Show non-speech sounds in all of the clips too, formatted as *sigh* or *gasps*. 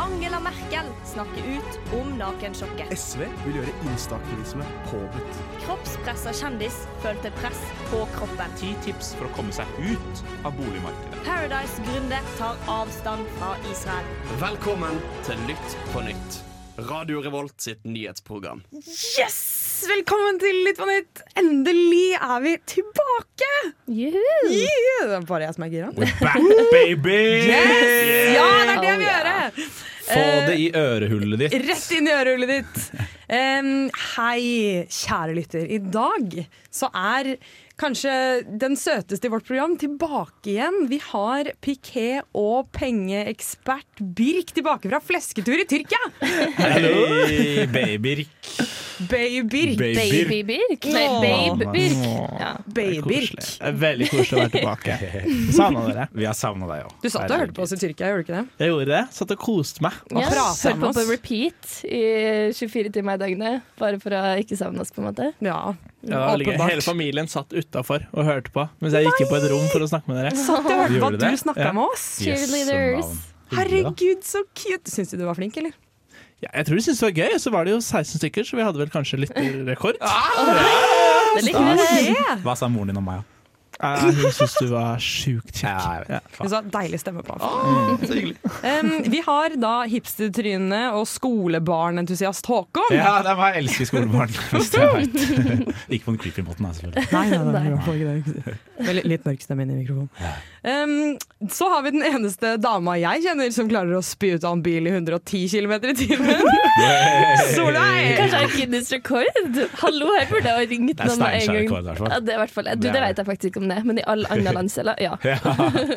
Merkel snakker ut om nakensjokket. SV vil gjøre instaaktivisme påbudt. Kroppspressa kjendis følte press på kroppen. Ti tips for å komme seg ut av boligmarkedet. Paradise-gründer tar avstand fra Israel. Velkommen til Lytt på nytt. Radio Revolt sitt nyhetsprogram. Yes! Velkommen til Litt på nytt. Endelig er vi tilbake! Juhu! Yeah! Det er bare jeg som er gira. We're *laughs* back, baby! Ja, det er det vi vil Oh, gjøre! Få det i ørehullet ditt. Rett inn i ørehullet ditt. Em, hei, kjære lytter. I dag så er kanskje den søteste i vårt program tilbake igjen. Vi har piké- og pengeekspert Birk tilbake fra flesketur i Tyrkia. Hei, babyrk. Bay-Birk. Baby Birk. Nei, Babe Birk. Ja. Bay-Birk. Veldig koselig å være tilbake. Savna dere. Vi har savna deg òg. Du satt og hørte på oss i Tyrkia, gjorde du ikke det? *laughs* Jeg gjorde det. Satt og koste meg. Ja, prater Hørte om på oss. på repeat i 24 timer i døgnet, bare for å ikke savne oss, på en måte. Ja, Ja, det var ligge- Hele åpenbart. familien satt utafor og hørte på mens jeg gikk inn på et rom for å snakke med dere. Satt og hørte på Gjorde at det? du snakka Ja. med oss. Cheerleaders. Herregud, så cute. Syns du du var flink, eller? Ja, jeg tror de syntes det var gøy, og så var det jo 16 stykker, så vi hadde vel kanskje lytterrekord. Det liker vi. Yeah. Hva sa moren din om meg? da? Ja, hun syntes du var sjukt kjekk. Ja. Mm. Hun sa deilig stemme på. Um, vi har da hipstertryne og skolebarnentusiast Håkon. Ja, det er meg. Jeg elsker *laughs* skolebarn. Hvis du vet. Ikke på den creepy måten, da, selvfølgelig. Nei, nei, *laughs* nei, jeg får ikke det. Vel, litt mørk stemme inn i mikrofonen. Um, så har vi den eneste dama jeg kjenner som klarer å spy ut av en bil i 110 km i timen. Solveig! Kanskje er Guinness rekord? Hallo, jeg burde ha ringt Det er noen med en steinkjær gang. rekord, i hvert fall. Ja, det, er i hvert fall. Du, Det er det vet det. jeg faktisk ikke om det, men i alle *laughs* andre landsdeler, ja.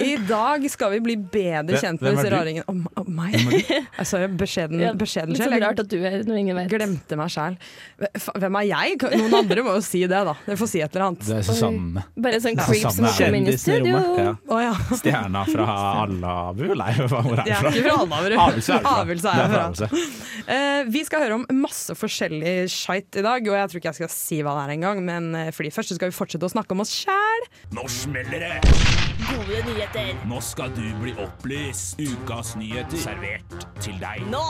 I dag skal vi bli bedre Hvem- kjent hvem med er disse du? raringene. Å, ma- å, meg? Altså, beskjeden, ja. beskjeden Litt selv. sånn Jeg rart at du er når ingen vet. Glemte meg sjæl. Hvem er jeg? Noen andre må jo si det, da. Dere får si et eller annet. Det er Susanne. Bare sånn Ja, creep som Susanne har er kommet inn i kjendisen i studio. rommet, Ja. Å ja. Stjerna *laughs* fra Allabu? Nei, hva- hvor er Jeg det er fra? ikke fra Alnabru. Avelse er det fra. Avelse Det er er jeg fra fra. Avelse. Eh, vi skal høre om masse forskjellig skeit i dag, og jeg tror ikke jeg skal si hva det er engang, men eh, fordi først så skal vi fortsette å snakke om oss sjæl. Nå smeller det! Gode nyheter Nå skal du bli opplyst. Ukas nyheter servert til deg. nå!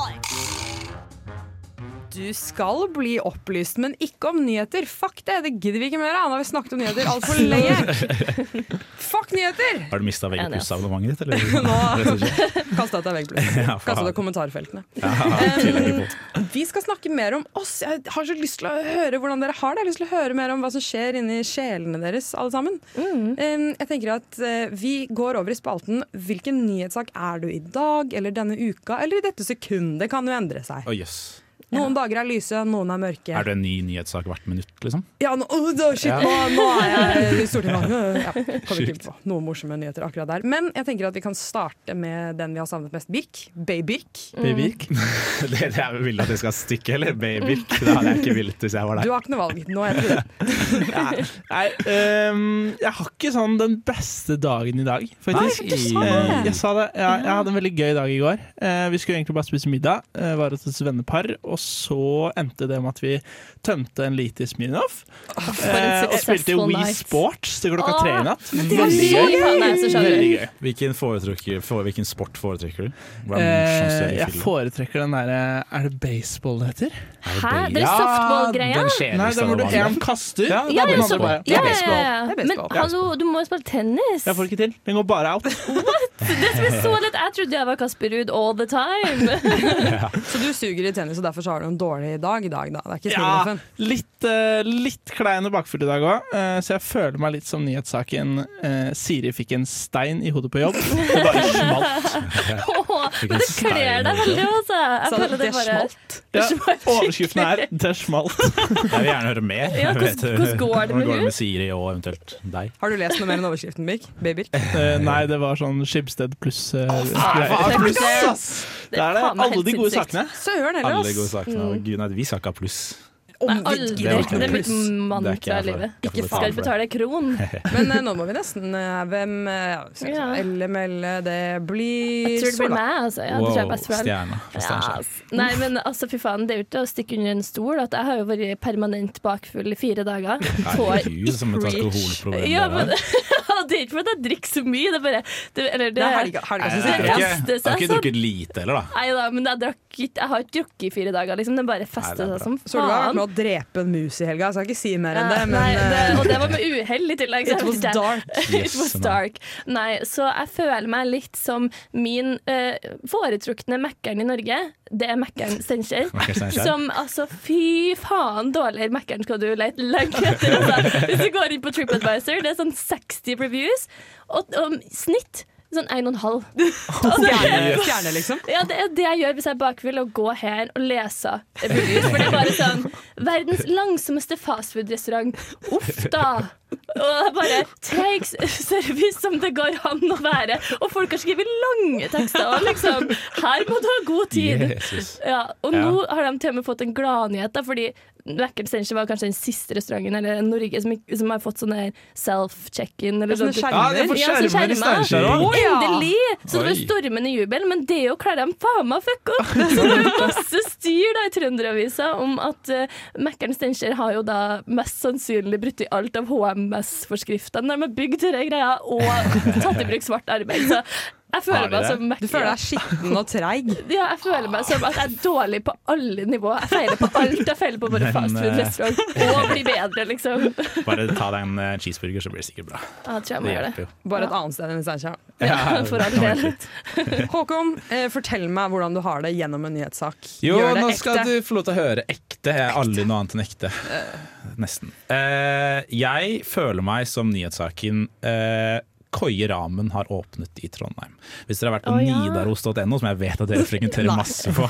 Du skal bli opplyst, men ikke om nyheter. Fuck det, det gidder vi ikke mer av. Nå har vi snakket om nyheter altfor lenge. Fuck nyheter! Har du mista Enig, ass. VG+-abonnementet ditt, eller? Nå- Rett og slett. Kasta deg vegg, please. Ja, Kasta faen. deg kommentarfeltene. Ja, tillegg på. Vi skal snakke mer om oss. Jeg har så lyst til å høre hvordan dere har det. Jeg har lyst til å høre mer om hva som skjer inni sjelene deres, alle sammen. Um, jeg tenker at eh, Vi går over i spalten 'Hvilken nyhetssak er du i dag?' eller 'Denne uka?' eller 'I dette sekundet'. Kan jo endre Å, seg. jøss. Noen dager er lyse, noen er mørke. Er det en ny nyhetssak hvert minutt, liksom? *laughs* Ja, nå, oh, da, shit, Ja. nå, nå er jeg i *laughs* Stortinget. Ja, kommer ikke på noen morsomme nyheter akkurat der. Men jeg tenker at vi kan starte med den vi har savnet mest. Birk. Bay-Birk. Bivik. Det, det jeg vil at jeg skal stikke, eller baby? Det hadde jeg ikke villet hvis jeg var Du deg. har ikke noe valg. Nå heter det det. Nei, øhm, jeg har ikke sånn den beste dagen i dag, faktisk. Nei, du sa det. Eh, jeg sa det. Jeg, jeg hadde en veldig gøy dag i går. Eh, vi skulle egentlig bare spise middag, eh, var hos et vennepar, og så endte det med at vi tømte en liter Smirnov. For en og spilte successful Wii night. Sports til klokka tre i natt. Det var så faen, jeg er så sjalu. Veldig gøy. Hvilken, foretrekker, for, hvilken sport foretrekker du? Hvordan Eh, sjanser i jeg film? foretrekker den derre Er det baseball det heter? Hæ? Det er softball-greia? Den skjer Nei, hvis den hvor du er vanlig. én kaster. Ja, Ja, det ja, er så, baseball. ja, Det ja, er baseball. ja. Det er Men baseball. hallo, du må jo spille tennis. Jeg får det ikke til. Den går bare out. Det som er så lett Jeg trodde jeg var Kasper Ruud all the *laughs* time. Så du suger i tennis, og derfor så har du en dårlig dag i dag, da. Det er ikke Ja, Smirnoffen. litt, eh, litt klein og bakfull i dag òg, så jeg føler meg litt som nyhetssaken eh, 'Siri fikk en stein i hodet på *laughs* jobb'. *laughs* Det bare smalt. Åh, Men det kler deg veldig, altså. Jeg Sa du føler det det bare smalt? Ja, smalt *laughs* overskriften er 'Det smalt'. Jeg vil gjerne høre mer. Ja, hvordan- Vet du- hvordan går det hvordan med går hun? det med Siri og eventuelt deg? Har du lest noe mer enn overskriften, Birk? Babyrk? Eh, Nei, det var sånn Skibsted pluss eh, Det greier. er Pluss, faen ass! Det er det. meg helt Alle de gode sinnssykt. sakene. Søren heller, Alle gode ass! sakene. og Gud, nei, vi skal ikke ha pluss. Nei, Om vi gidder. aldri. Det ikke er mitt pluss. Det er ikke mantra jeg i for. livet. Jeg får Ikke skal betale for betale kron. *laughs* Men eh, nå må vi nesten eh, Hvem eh, skal vi Ja. si, Elle melde eh, det blir Jeg tror det blir Solveig. meg, altså. Ja, det tror jeg Wow, best for han. stjerna fra Ja, Steinkjer. ass. Nei, men altså, fy faen, det er jo ikke å stikke under en stol at jeg har jo vært permanent bakfull i fire dager. Får Herregud, som et preach. alkoholproblem *laughs* Ja, det men er. det det er ikke fordi jeg drikker så mye. Det er bare det, eller, det, Det er helga, helga som Jeg har det sitter. ikke, fester jeg seg har ikke sånn. drukket lite *laughs* heller, da. Nei da, men jeg, drakk, ikke- jeg har ikke drukket i fire dager. Liksom. Det bare Nei, fester det er seg som Så du har vært faen. med å drepe en mus i helga. Jeg skal ikke si mer enn det, Ja, men Nei, det, eh, og det var med uhell i tillegg. så jeg *laughs* It was vet ikke. dark. It was dark. Nei, så jeg føler meg litt som min eh, foretrukne Mækkern i Norge. Det er Mækkern Steinkjer. Mækkern Steinkjer. Som altså, fy faen, dårligere Mækkern skal du lete lenge etter. Altså. Hvis du går inn på TripAdvisor, det er sånn 60 reviews, og, og snitt sånn 1,5. Stjerne, stjerne, liksom. Ja, det er det jeg gjør hvis jeg er bakfull, å gå her og lese reviews. For det er bare sånn Verdens langsommeste fastfood-restaurant. Uff da. Og det er bare treig service som det går an å være. Og folk har skrevet lange tekster. Og liksom Her må du ha god tid. Jesus. Ja, og nå har de til og med fått en gladnyhet, da, fordi Wacker Steinkjer var kanskje den siste restauranten eller Norge som, ikke- som har fått sånn der self-check-in. eller Sånne sånn- skjermer. Ja, det får Ja, så skjermer i skjermer. Steinkjer òg. Å, ja. Endelig! Så det var Oi. stormende jubel, men det jo klarer de faen meg å fucke opp! Så det er jo masse styr da i Trønderavisa om at uh, Mækkern Steinkjer har jo da mest sannsynlig brutt i alt av HMS-forskriftene de har bygd denne greia, og tatt i bruk svart arbeid. Så Har jeg føler de meg det? som Du Mækkern. føler deg skitten og treig. Ja, jeg føler meg som at jeg er dårlig på alle nivåer. Jeg feiler på alt. Jeg feiler på bare Men, eh, fastfood-restaurant og blir bedre, liksom. Bare ta deg en eh, cheeseburger, så blir det sikkert bra. Ja, jeg tror jeg må Det gjøre hjelper det. jo. *laughs* Bare et annet sted enn i Steinkjer. Ja, for all del. Håkon, eh, fortell meg hvordan du har det gjennom en nyhetssak. Jo, Gjør det nå skal ekte. du få lov til å høre ekte. Jeg er aldri noe annet enn ekte. Nesten. Eh, jeg føler meg som nyhetssaken uh, Koie Ramen har åpnet i Trondheim. Hvis dere har vært på Å, ja. nidaros.no, som jeg vet at dere frekventerer Nei. masse på,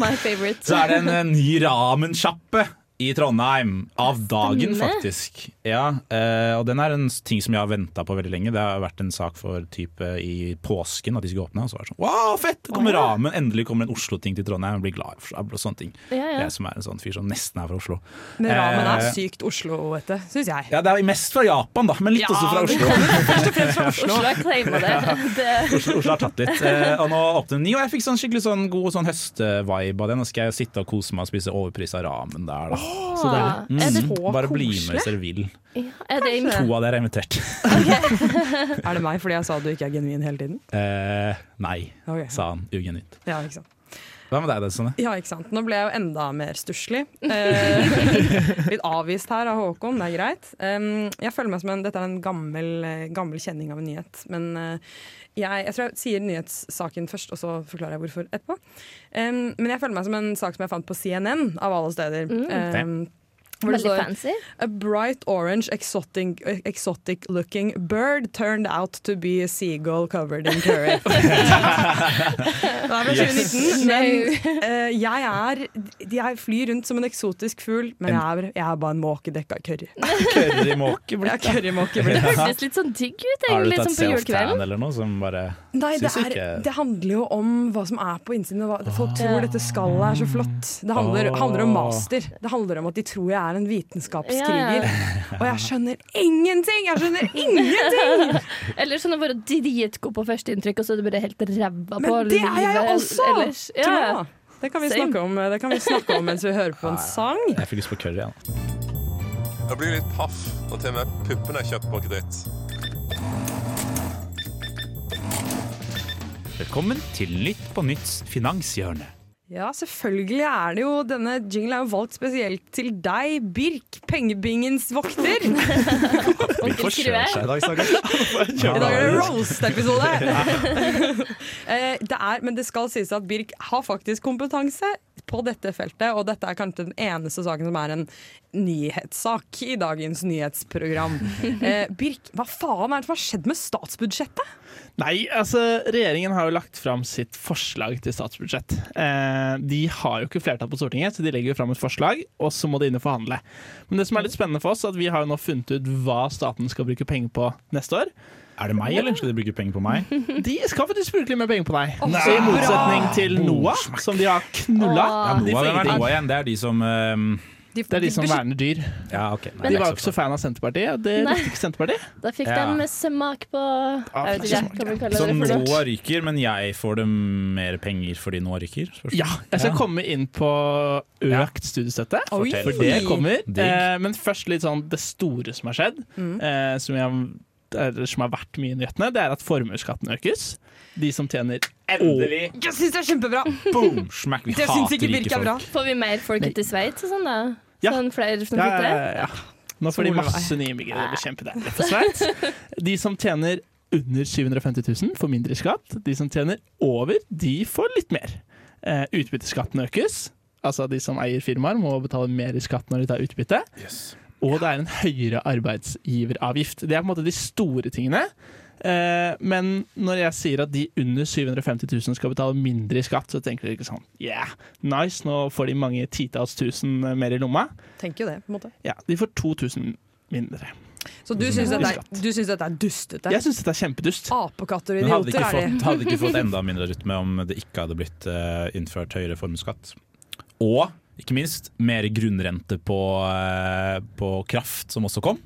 My favorite. så er det en eh, ny ramensjappe i Trondheim. Av dagen, Stemmer. faktisk. Ja, eh, og den er en ting som jeg har venta på veldig lenge. Det har vært en sak for type i påsken at de skulle åpne. Og så var det sånn Wow, fett! Det kommer ramen! Endelig kommer en Oslo-ting til Trondheim. Jeg blir glad for og sånne ting. Ja, ja. Jeg som er en sånn fyr som nesten er fra Oslo. Men ramen er Eh, sykt Oslo-ete, syns jeg. Ja, det er mest fra Japan, da, men litt også fra Oslo. Oslo har claima det. *laughs* det. Oslo, Oslo har tatt litt. Eh, og nå åpner den ny, og jeg fikk sånn skikkelig sånn god sånn høstvibe av det. Nå skal jeg sitte og kose meg og spise overprisa ramen der, da. Så deilig. Mm. Er det, Bare bli med hvis dere vil. er det To av dere er invitert. Er det meg fordi jeg sa du ikke er genuin hele tiden? Eh, nei, Ok. sa han ugenuint. Ja, ikke sant. Hva med deg, *laughs* Dessone? Ja, ikke sant. Nå ble jeg jo enda mer stusslig. *laughs* Eh, litt avvist her av Håkon, det er greit. Um, jeg føler meg som en, Dette er en gammel, eh, gammel kjenning av en nyhet. Men eh, jeg, jeg tror jeg sier nyhetssaken først, og så forklarer jeg hvorfor etterpå. Um, men jeg føler meg som en sak som jeg fant på CNN, av alle steder. Um, hvor det Veldig står fancy. A bright orange exotic, exotic looking bird turned out to be a seagull covered in curry. det er fra 2019, men eh, jeg er Jeg flyr rundt som en eksotisk fugl, men jeg er, jeg er bare en måke dekka av curry. Currymåke? Jeg er currymåke Det blitt. hørtes litt sånn digg ut, Har du egentlig, tatt som på self-tan julekvelden. eller noe som bare Nei, det, Syns er, ikke- det handler jo om hva som er på innsiden. og Hva, folk tror dette skallet er så flott. Det handler, Åh. handler om master. Det handler om at de tror jeg er en Ja, vitenskapskriger. Og jeg skjønner ingenting! Jeg skjønner ingenting! Eller sånn å være dritgod på førsteinntrykk, og så er du bare helt ræva på Men det er jeg livet også! Ellers. Ja. Tror jeg. Det kan, vi Same. snakke om, det kan vi snakke om mens vi hører *laughs* på en sang. Jeg fikk lyst på curry, jeg. Jeg blir litt paff når til og med puppene er kjøpt på kreditt. Ja. Velkommen til Nytt på nytts finanshjørne. Ja, selvfølgelig er det jo Denne jinglen er jo valgt spesielt til deg, Birk, pengebingens vokter. *laughs* I Vi Onkel Skrue. forsøker seg i dag, stakkars. dag er det *laughs* roast-episode! *laughs* Eh, det er, men det skal sies at Birk har faktisk kompetanse på dette feltet, og dette er kanskje den eneste saken som er en nyhetssak i dagens *laughs* nyhetsprogram. Eh, Birk, hva faen er det som har skjedd med statsbudsjettet? Nei, altså regjeringen har jo lagt fram sitt forslag til statsbudsjett. Eh, de har jo ikke flertall på Stortinget, så de legger jo fram et forslag, og så må de inn og forhandle. Men det som er litt spennende for oss, er at vi har jo nå funnet ut hva staten skal bruke penger på neste år. Er det meg, eller skal de bruke penger på meg? De skal faktisk bruke litt mer penger på deg. Så I motsetning til Noah, som de har knulla. Ja, de Noah, får hvem er ingenting. Noah igjen? Det er de som ehm, Det er de som verner dyr. Ja, ok. Nei, De det er var jo ikke så fan av Senterpartiet, og det Nei. likte ikke Senterpartiet. Da fikk Ja. de smak på Ah, Jeg vet ikke, hva man Så kaller det for noe. Noah ryker, men jeg får det mer penger fordi Noah ryker? Spørsmål. Ja, jeg skal Ja. komme inn på Ja. økt studiestøtte. Oi. Fortell. For det kommer. Digg. Eh, men først litt sånn det store som har skjedd. Eh, som jeg eller som har vært mye i nyhetene, det er at formuesskatten økes. De som tjener Endelig! Jeg syns det er kjempebra! Boom! Smack, vi Det syns hater ikke rike Birk er folk. bra. Får vi mer folk etter Sveits og sånn, da? Ja. Sånn flere som Ja, flytter? ja, ja, ja. Nå får de masse nye immigrere. Det blir kjempedeilig for Sveits. De som tjener under 750 000, får mindre i skatt. De som tjener over, de får litt mer. Eh, utbytteskatten økes. Altså de som eier firmaer, må betale mer i skatt når de tar utbytte. Og det er en høyere arbeidsgiveravgift. Det er på en måte de store tingene. Eh, men når jeg sier at de under 750 000 skal betale mindre i skatt, så tenker dere ikke sånn Yeah, nice, nå får de mange titalls tusen eh, mer i lomma. Tenker jo det, på en måte. Ja, de får 2000 mindre. Så du syns Mindre dette er, du synes dette er dustete? Jeg syns dette er kjempedust. Apekatter og Men hadde idioter ikke, er de. fått, hadde ikke fått enda mindre rytme om det ikke hadde blitt eh, innført høyere formuesskatt. Og ikke minst mer grunnrente på, eh, på kraft, som også kom.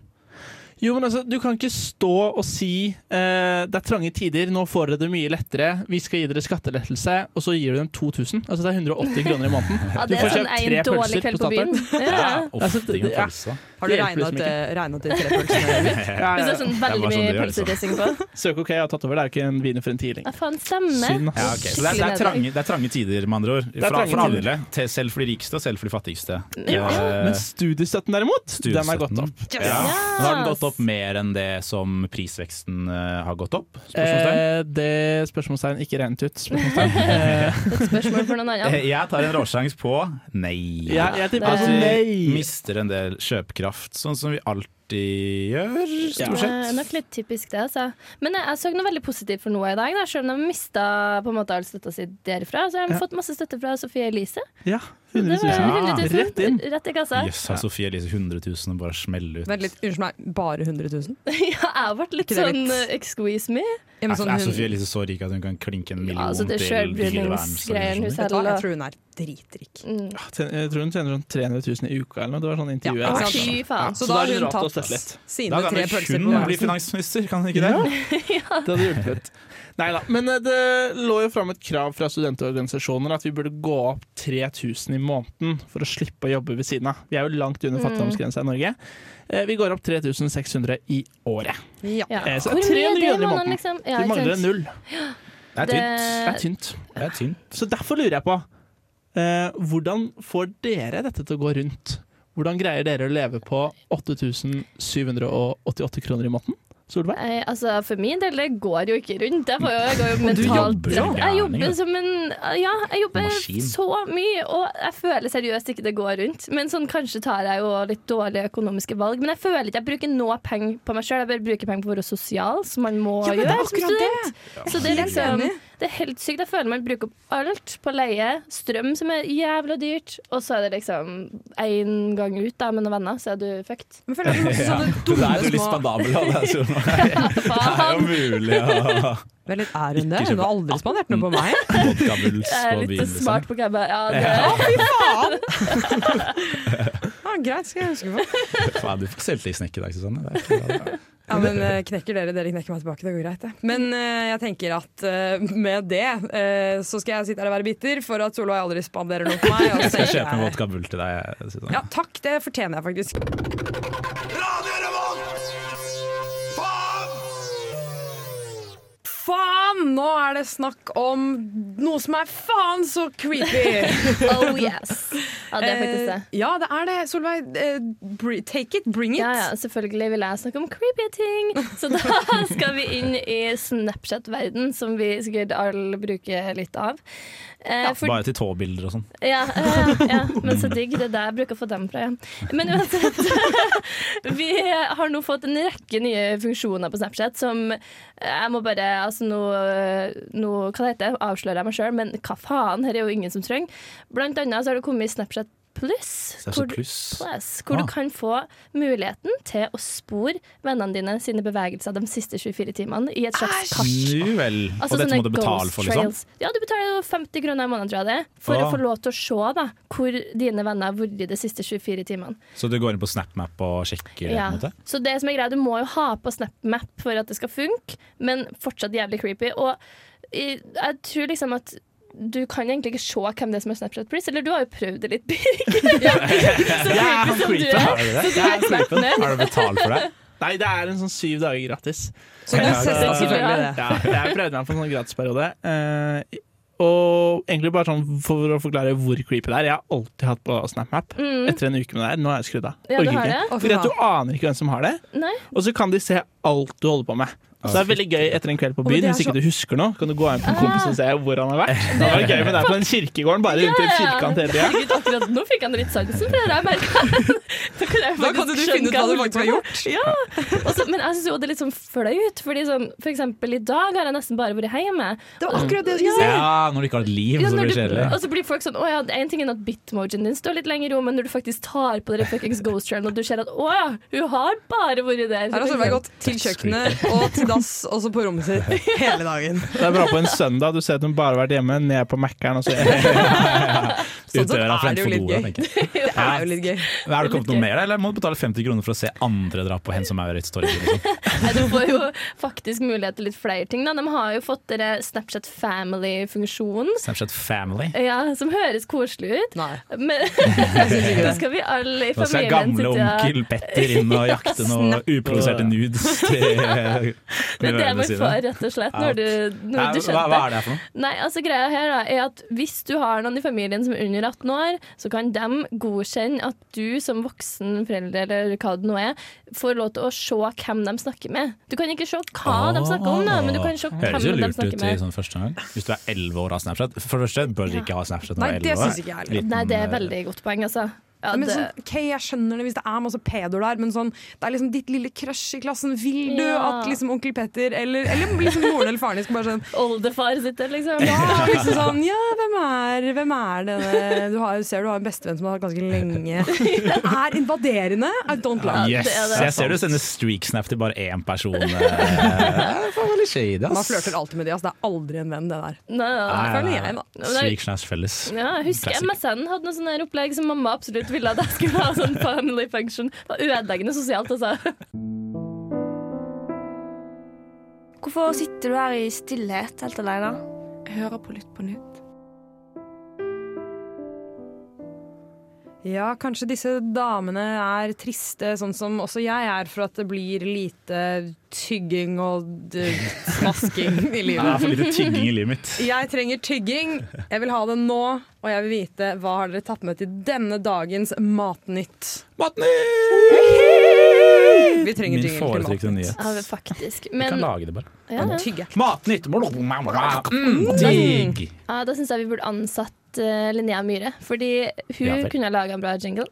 Jo, men altså, Du kan ikke stå og si eh, det er trange tider, nå får dere det mye lettere, vi skal gi dere skattelettelse, og så gir du dem 2000. Altså Det er 180 kroner i måneden. Ja, Du det er får sånn kjøpt en tre dårlig pølser kveld på på byen. Ja. Uff, Altså, det- det, ja. *laughs* pølse. Har du Det hjelper regnet, liksom eh, regnet de tre pølsene? eller? Ja, Hvis ja, det ja. er sånn bare veldig sånn det mye gjør, liksom. pølsedressing på. Søk OK, jeg har tatt over, det er jo ikke en viner for en tidling. Ja, faen, stemmer. Synd, ass. Ja, ok. Så det, er, det, er trange, det er trange tider, med andre ord. er Fra, trange for tider. alle. til- Selv for de rikeste og selv for de fattigste. Eh, Men studiestøtten derimot, den er studiestøtten. gått opp. Ja. Nå har den gått opp mer enn det som prisveksten eh, har gått opp? Spørsmålstegn. Eh, det spørsmålstegn ikke regnet ut. Spørsmålstegn. Et spørsmål *laughs* for noen andre. Eh, Jeg tar en råsjanse på nei. Ja, jeg tipper At altså vi nei. mister en del kjøpekraft, sånn som vi alltid gjør, stort Det er sett. Eh, nok litt typisk det, altså. Men jeg, jeg så noe veldig positivt for Noah i dag. Da. Selv om de mista på en måte all støtta si derfra, så har de Ja. fått masse støtte fra Sofie Elise. Ja, Så det 100 var 000. 100 000 Ah, Rett inn. Rett i kassa. Jøss, har Sofie Elise 100 000 og bare smeller ut. Vent litt, unnskyld meg, bare 100 000? *laughs* Ja, jeg ble litt Ikke det sånn litt? eh, excuse me. Er, Ja, men sånn er hun- Sofie Elise så rik at hun kan klinke en million Ja, altså, det er til selvbruningsgreier dyrevernsorganisasjoner? hun Vet du hva, jeg selger. tror hun er dritrik. Mm. Jeg tror hun tjener sånn 300 000 i uka eller noe. Det var sånn intervjuet. Ja, Å, ikke sant? Fy faen. Så Så da da har er det hun rart å støtte tatt litt. sine Da tre kan jo pølser på hun bli hver. finansminister, kan hun ikke det? *laughs* Det hadde hjulpet. Nei da. Men eh, det lå jo fram et krav fra studentorganisasjoner at vi burde gå opp 3000 i måneden for å slippe å jobbe ved siden av. Vi er jo langt Mm. under fattigdomsgrensa i Norge. Eh, Vi går opp 3600 i året. Ja. Ja. Eh, så Hvor mye er 300 det i kroner i måneden, måneden. liksom? Ja, Vi ikke mangler en sant? null. Det er tynt. Det er tynt. Det er *laughs* tynt. Eh, Så derfor lurer jeg på eh, Hvordan får dere dette til å gå rundt? Hvordan greier dere å leve på 8788 kroner i måneden? Solveig? Nei, altså For min del, det går jo ikke rundt. Jeg, får jo, jeg går jo du mentalt jobber som Jeg gærning, da. jobber som en Ja, jeg jobber Maskin. så mye, og jeg føler seriøst ikke det går rundt. Men sånn, Kanskje tar jeg jo litt dårlige økonomiske valg, men jeg føler ikke jeg bruker noe penger på meg sjøl. Jeg bare bruker penger på å være sosial, som man må Ja, men det er gjøre som akkurat det. student. Så det er Helt liksom enig. Det er helt sykt. Jeg føler man bruker opp alt på leie, strøm som er jævla dyrt, og så er det liksom én gang ut da, med noen venner, så er du *laughs* fucked. *laughs* Men føler jeg masse sånne Da er dumme du litt små spandabel. da, Det er jo- det er jo Faen! mulig å Vel, litt er hun det? Ikke Hun har aldri spandert noe på *laughs* meg. *laughs* vodkabuls Jeg er på byen. litt Liksom. smart på hva jeg bare Ja, det Ja, greit, skal jeg huske på. Faen, du fikk selvtillitssnekk i dag, Susanne. Det er ikke bra, det. Ja, men eh, Knekker dere, dere knekker meg tilbake. Det går greit, det. Men eh, jeg tenker at eh, med det eh, så skal jeg sitte her og være bitter for at Solveig aldri spanderer noe på *laughs* meg. og så Jeg tenker skal kjøpe en jeg- vodkabull til deg. Susanne. Ja, takk, det fortjener jeg faktisk. Faen! Nå er det snakk om noe som er faen så creepy. Oh yes. *laughs* Ja, det er faktisk det. Eh, ja, det er det. Solveig, eh, br- take it, bring it. Ja, ja, selvfølgelig vil jeg snakke om creepy ting. Så da *laughs* skal vi inn i Snapchat-verden, som vi sikkert alle bruker litt av. Eh, for- Bare til tåbilder og sånn. Ja, eh, ja, men så digg. Det er der jeg bruker å få dem fra. Ja. Men uansett, *laughs* vi har nå fått en rekke nye funksjoner på Snapchat som eh, jeg må bare altså Nå, nå hva det heter, avslører jeg meg sjøl, men hva faen? Her er jo ingen som trenger. Blant annet så har det kommet Snapchat Pluss. Snapchat hvor du- Plus. Plus, Ah. hvor du kan få muligheten til å spore vennene dine sine bevegelser de siste 24 timene i et slags kart. Nu vel. Altså, og dette sånne må du betale ghost for, liksom? trails. Ja, du betaler jo 50 kroner i måneden, tror jeg det, er, for Ah. å få lov til å se da, hvor dine venner har vært de siste 24 timene. Så du går inn på SnapMap og sjekker? Ja. På en måte? Så det som er greia, du må jo ha på SnapMap for at det skal funke, men fortsatt jævlig creepy. Og i, jeg tror liksom at du kan egentlig ikke se hvem det er som har Snapchat Please, eller du har jo prøvd det litt, *laughs* Birk. *laughs* så creepy som du er. Har du det? *laughs* Du er eksperten her. *laughs* Har du betalt for det? Nei, det er en sånn syv dager gratis. Så du Ja, testa ja. selvfølgelig det. Ja, jeg prøvde meg på en sånn gratisperiode. eh, og egentlig bare sånn for å forklare hvor creepy det er. Jeg har alltid hatt på SnapMap. Mm. Etter en uke med det her, nå er jeg skrudd av. Ja, du Orker har ikke. det? Å, fy Fordi at faen. du aner ikke hvem som har det, Nei. og så kan de se alt du holder på med. Så det er veldig gøy etter en kveld på men det byen. er Ah. Hvis ikke du husker noe, kan du gå hjem på en kompis og se hvor han har vært. Det var gøy med det på den kirkegården, bare rundt i en firkant *laughs* hele tida. Herregud, akkurat nå fikk han litt sansen for det der, merka jeg. *laughs* Da kan jeg Da kan faktisk du finne skjønne ut hva du han faktisk har holder på gjort. med. Ja. Og så- men jeg syns jo det er litt sånn flaut, fordi sånn, for eksempel i dag har jeg nesten bare vært hjemme. Det var akkurat det jeg skulle si. Ja, når du ikke har et liv, Ja, så når blir det du, kjedelig. og så blir folk sånn Å ja, en ting er at bitmojen din står litt lenger i ro, men når du faktisk tar på den fuckings ghost trail, og du ser at å ja, hun har bare vært der. Her har Solveig gått til kjøkkenet og til dass og så på rommet *laughs* sitt hele dagen. Det er bra på en søndag. Du ser at hun bare har vært hjemme, ned på Mækkern og så Sånn Ut døra sett er det jo fremfor litt bordet, gøy. tenker jeg. *laughs* Det er jo litt gøy. Men Har det kommet noe mer, da, eller må du betale 50 kroner for å se andre dra på Hen som Maurits torg? *laughs* Liksom? Nei, Du får jo faktisk mulighet til litt flere ting. Da. De har jo fått dere Snapchat Family-funksjonen, Snapchat Family. ja, som høres koselig ut. Nei, *laughs* Men jeg syns ikke da det. skal vi alle Nå i skal familien gamle sitte og onkel Petter inn og jakte noen uproduserte nudes *laughs* til Det er det nevøene man sine. får, rett og slett, når du, Nei, når du Hva, hva er skjønner det her for noe? Nei, altså greia her da, er at Hvis du har noen i familien som er under 18 år, så kan de godkjenne at du som voksen forelder eller hva det nå er, får lov til å se hvem de snakker med. Du kan ikke se hva Ah. de snakker om, da, men du kan se hvem Høres jo de lurt ut snakker i med. sånn første gang. Hvis du er 11 år og har Snapchat. For det første bør du ikke ha Snapchat når Nei, du er det 11 år. syns ikke jeg heller. Liten, Nei, det er eh, veldig godt poeng, altså. Ja, Men det, sånn, ok, jeg skjønner det hvis det er masse pedoer der, men sånn, det er liksom ditt lille crush i klassen. Vil du Ja. at liksom onkel Petter eller, eller liksom moren eller faren din skal bare sånn Oldefar *laughs* sitter, liksom. *laughs* Ja, liksom sånn, ja hvem, er, hvem er denne du har, Ser du har en bestevenn som har hatt ganske *laughs* lenge. Det er invaderende. I don't like it. det er Yes. det. Jeg ser du sender streaksnap til bare én person. eh, Det var veldig shady, Man ass. flørter alltid med de, ass. Det er aldri en venn, det der. Nei, nei, nei. Nei, nei, jeg, nei. da. Streaksnaps felles. Ja, jeg husker Classic. MSN hadde noe sånn her opplegg som mamma absolutt ville at jeg skulle ha. sånn family function. Det var ødeleggende sosialt, altså. Hvorfor sitter du her i stillhet helt alene? Jeg hører på Lytt på nytt. Ja, kanskje disse damene er triste, sånn som også jeg er, for at det blir lite tygging og d- smasking *laughs* i Det er livet. for lite tygging i livet mitt. Jeg trenger tygging. Jeg vil ha det nå, og jeg vil vite hva har dere tatt med til denne dagens Matnytt. Vi trenger Min tygging til foretrykte Matnytt. nyhet. Ja, faktisk. Vi kan Men lage det, bare. ja, ja. Tygge. Matnytt! Mm, digg! Ja, da syns jeg vi burde ansatt eh, Linnea Myhre. Fordi hun Ja vel. kunne ha laga en bra *laughs* jingle.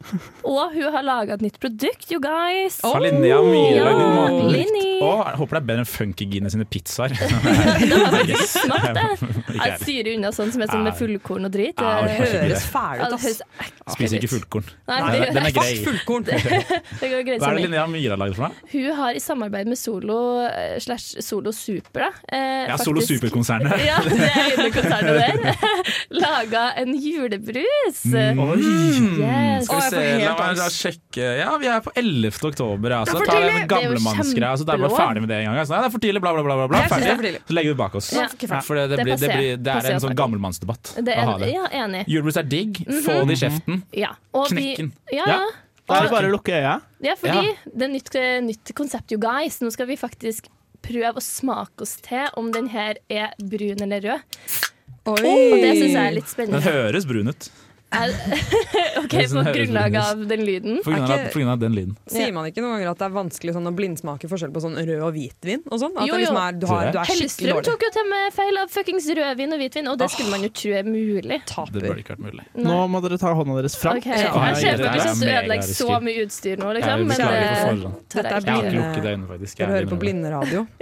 Og hun har laga et nytt produkt, you guys! Har Linnea Myhre lagd Ja, matnytt? Linni. Å, jeg håper det er bedre enn Funkygine sine pizzaer. *laughs* *laughs* Yes. Smart, det! Ikke Jeg jeg. styrer unna sånn som er sånn med fullkorn og drit. Ja, Det- det Ja, Høres fæl ut, det ass. høres ekkelt Spiser ikke ut. fullkorn. Nei, Nei, det- Den er grei. Fuck fullkorn! det går Hva greit som er det det. Linnea Myhre har lagd for noe? Hun har i samarbeid med Solo eh, slash Solo Super, da. eh, Ja, Solo faktisk- Super-konsernet. *laughs* Ja, det er inne i konsernet der. *laughs* Laga en julebrus. Yes. Skal vi Å, jeg se, får helt la meg da angst. sjekke Ja, vi er på 11. oktober. Ja, så Det er for tar vi tidlig. den Det er jo gamlemannsgreia. Så da er vi kjempelov. ferdig med det en gang. altså. Nei, det er for tidlig, bla, bla, bla. bla, bla. Jeg synes det er for Ferdig. tidlig. Så legger vi det bak oss. Ja. Ja, for det, det, Det er blir, det, passé. blir, det er Passé en sånn snakk. gammelmannsdebatt Det å er, ha det. ja, enig. Julebrus er digg. Få det i kjeften. Ja. Og vi- Knekken. Ja, Ja. ja. Da er det bare å lukke øya. Ja, fordi det er nytt, eh, nytt konsept, you guys. Nå skal vi faktisk prøve å smake oss til om den her er brun eller rød. Og det syns jeg er litt Den *laughs* spennende. høres brun ut. *laughs* den Ok, På høres grunnlag brun ut. av den lyden. På grunn, av, Er ikke- på grunn av den lyden. Sier man ikke noen ganger at det er vanskelig sånn å blindsmake forskjell på sånn rød og hvitvin? Og sånn? At Jo, det liksom jo. er, du, har, du er skikkelig Hellstrøm dårlig. tok jo til med feil av fuckings rødvin og hvitvin, og det skulle man jo tro er mulig. Det Taper. burde ikke vært mulig. Nå må dere ta hånda deres fram. Ok, Jeg ser for meg Det er at du mega ødelegger så risky. mye utstyr nå, Jeg liksom. Men beklager det på forhånd. tar Dette er jeg Jeg ikke. har ikke lukket øynene, faktisk. Jeg Dere er hører på livredd. blinderadio. *laughs*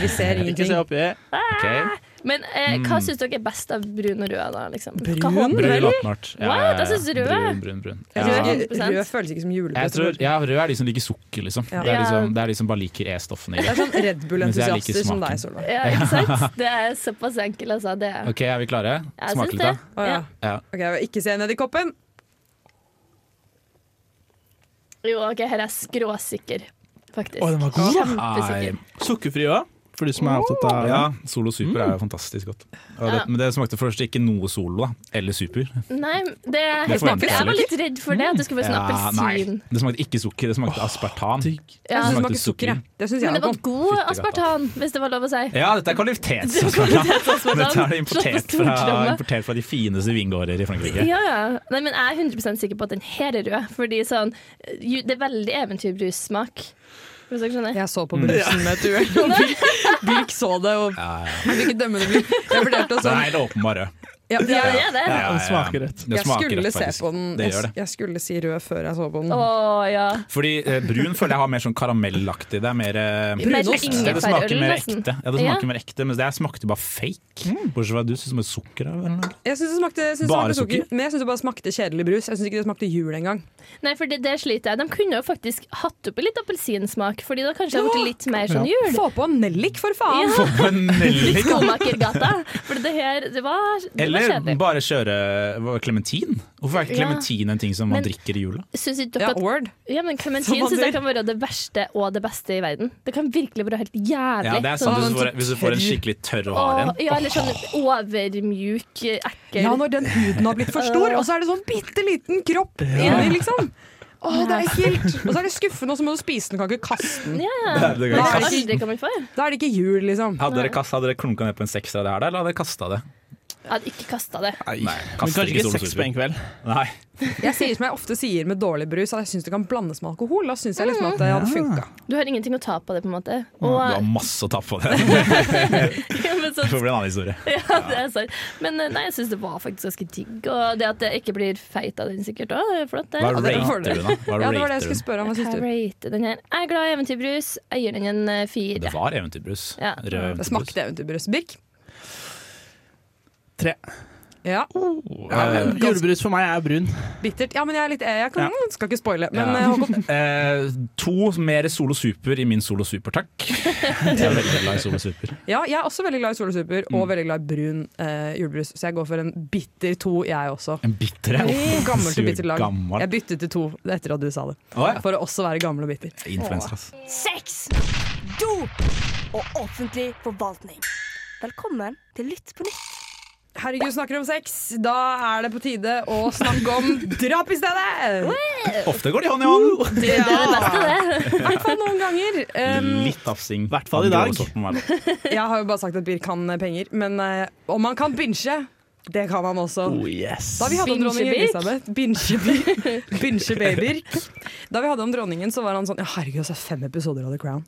Vi ser Ikke se ingenting. oppi. Ok. Men eh, Mm. hva syns dere er best av brun og rød, da? Liksom? Brun? Hva hånd- Brun åpenbart. Ja, What? ja, ja. Jeg synes rød. Brun, brun, brun. Jeg Ja. tror ikke, 100%. rød føles ikke som Jeg tror, julebrus. ja, rød er de som liker sukker, liksom. Ja. Det, er Ja. liksom det er de som bare liker E-stoffene i Det det. er *laughs* sånn Red Mens jeg Bull-entusiaster liker som smaken. deg, Solveig. Ja, *laughs* ikke sant? Det er såpass enkelt, altså. Det er. Ok, er vi klare? Jeg Smak syns litt, da. det. Å, ja. Ja. Ok, jeg vil ikke se ned i koppen. Jo, ok, her er jeg skråsikker, faktisk. Å, den var god. Kjempesikker. Sukkerfri òg. for du som er opptatt av Ja, Solo Super er jo fantastisk godt. Og det, Ja. men det smakte først ikke noe Solo da, eller Super. Nei, det, Det forventer jeg jeg var litt. litt redd for det. At det skulle være sånn Ja, appelsin. Det smakte ikke sukker, det smakte aspartam. Ja. Jeg synes det Smakte smaker sukker, jeg. Det syns jeg Men det noe var om. god Fytti aspartan, hvis det var lov å si. Ja, dette er kvalitetsaspartam. *laughs* Dette er Dette det importert fra, importert fra de fineste vingårder i Frankrike. Ja, ja. Nei, men jeg er 100 sikker på at den her er rød. Fordi sånn, ju- Det er veldig eventyrbrussmak. Hvis dere skjønner. Jeg så Mm. på brusen med et uhell, og Birk, *laughs* Birk så det. Og jeg vil ikke dømme det, Birk. Jeg fortalte oss Den sånn. er helt åpenbar rød. Ja, Ja, jeg, det er det. Ja, ja, ja. Den smaker rødt. Den jeg smaker skulle rødt, se faktisk. på den. Det gjør Jeg, det. jeg skulle si rød før jeg så på den. Å ja. Fordi eh, brun føler jeg har mer sånn karamellaktig. Det er mer eh, Mer Brunost. Ja, det smaker ingefærøl, mer nesten. ekte, ja, det Ja. smaker mer ekte mens det her smakte bare fake. Bortsett fra at du syns det smaker sukker av. eller noe. Jeg syns det smakte, jeg synes det Bare smakte sukker, sukker? men jeg syns det bare smakte kjedelig brus. Jeg syns ikke det smakte jul engang. Nei, for det, det sliter jeg. De kunne jo faktisk hatt oppi litt appelsinsmak, Fordi da kanskje det hadde blitt litt mer sånn jul. Få på nellik, for faen! Ja. Få på en Litt nellik! Skomakergata. For det her, det var, det Eller var kjedelig. bare kjøre klementin. Hvorfor er ikke Ja. klementin en ting som man Men- drikker i jula? Syns ikke Ja, dere at word. Ja, men Som Clementine man syns sier. jeg kan være det verste og det beste i verden. Det kan virkelig være helt jævlig. Ja, det er sant hvis Sånn- du får, hvis du får en skikkelig tørr og hard en. Åh, ja, eller sånn overmjuk, eh, ekkel Ja, når den huden har blitt for stor, og så er det sånn bitte liten kropp inni, liksom. Å, det er ekkelt! Og så er det skuffende, og så må du spise den, kan ikke kaste den. Ja, Det er- det kan det har ikke jeg kaste. aldri kommet for. Da er det ikke jul, liksom. Hadde dere, kast, hadde dere klunka ned på en sekser av det her, da, eller hadde dere kasta det? Jeg hadde ikke kasta det. Nei, Men kaster kanskje ikke Solo seks Super. på en kveld. Nei. Jeg sier som jeg ofte sier med dårlig brus, at jeg syns det kan blandes med alkohol. Da syns jeg liksom at det hadde funka. Du har ingenting å ta på det, på en måte. Du Og, har masse å ta på det. *laughs* *laughs* ja, men, Det *laughs* får så, bli en annen historie. ja, det er sant. men eh, nei, jeg syns det var faktisk ganske digg. Og det at jeg ikke blir feit av den sikkert òg, er flott. det. Hva det er en fordel. rater du, da? Hva Ja, det var det rater jeg du? skulle spørre om. Hva Jeg syns du? rater den her. Jeg er glad i eventyrbrus. Jeg gir den en eh, fire. Det var eventyrbrus. Ja. Rød eventyrbrus. Det smakte eventyrbrus. Birk? Tre. Ja, Eh, Julebrus for meg er brun. bittert. Ja, men jeg er litt Jeg kan, skal ikke spoile, men Ja. eh, Håkon, Eh, to mer Solo Super i min Solo Super, takk. Jeg er veldig glad i Solo Super. Ja, jeg er også veldig glad i Solo Super Mm. og veldig glad i brun eh, julebrus, så jeg går for en bitter to, jeg også. En bitter en. Gammel til bitter lag. Gammel. Jeg byttet til to etter at du sa det, Å, ja. for å også være gammel og bitter. Influencer, ass. Sex, dop og offentlig forvaltning. Velkommen til Lytt på nytt. Herregud, snakker om sex. Da er det på tide å snakke om drap i stedet! Ofte går de hånd i hånd. Det er det beste, det. I hvert fall noen ganger. Um, Litt tafsing. I hvert fall i dag. jeg har jo bare sagt at Birk kan penger, men eh, om han kan binche, det kan han også. Oh yes. Da vi hadde om dronning Binsjebirk. Elisabeth Binsjebirk. Binsjebabyrk. Da vi hadde om dronningen, så var han sånn Ja, herregud, så er det fem episoder av The Crown.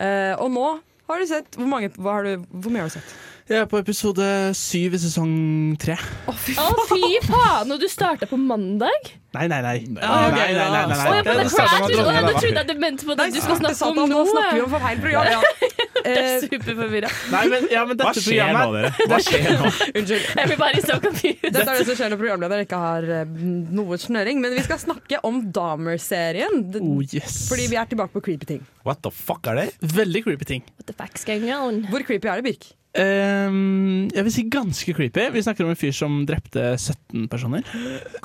Eh, og nå har du sett Hvor, mange, hva har du, hvor mye har du sett? Jeg er på episode syv i sesong tre. Å, fy faen! Og du starta på mandag? Nei, nei, nei. Ah, ok, nei, nei, nei, nei, da. nei. Å, ja, på Det The Crash! Å, startet med at ja, Nå dronningen var trodde jeg du mente på at du skulle snakke om Satan, nå. eh. Nå snakker vi om for feil program. Ja. Eh, Superforvirra. *laughs* Nei, men, ja, men Hva dette skjer nå, programmet dere? Hva skjer nå? unnskyld. Everybody's so confused. Dette er det som skjer når programleder ikke har eh, noe snøring. Men vi skal snakke om Dahmer-serien. D- Oh yes. Fordi vi er tilbake på creepy ting. What the fuck er det? Veldig creepy ting. What the fuck's going on? Hvor creepy er det, Birk? Ehm, jeg vil si ganske creepy. Vi snakker om en fyr som drepte 17 personer.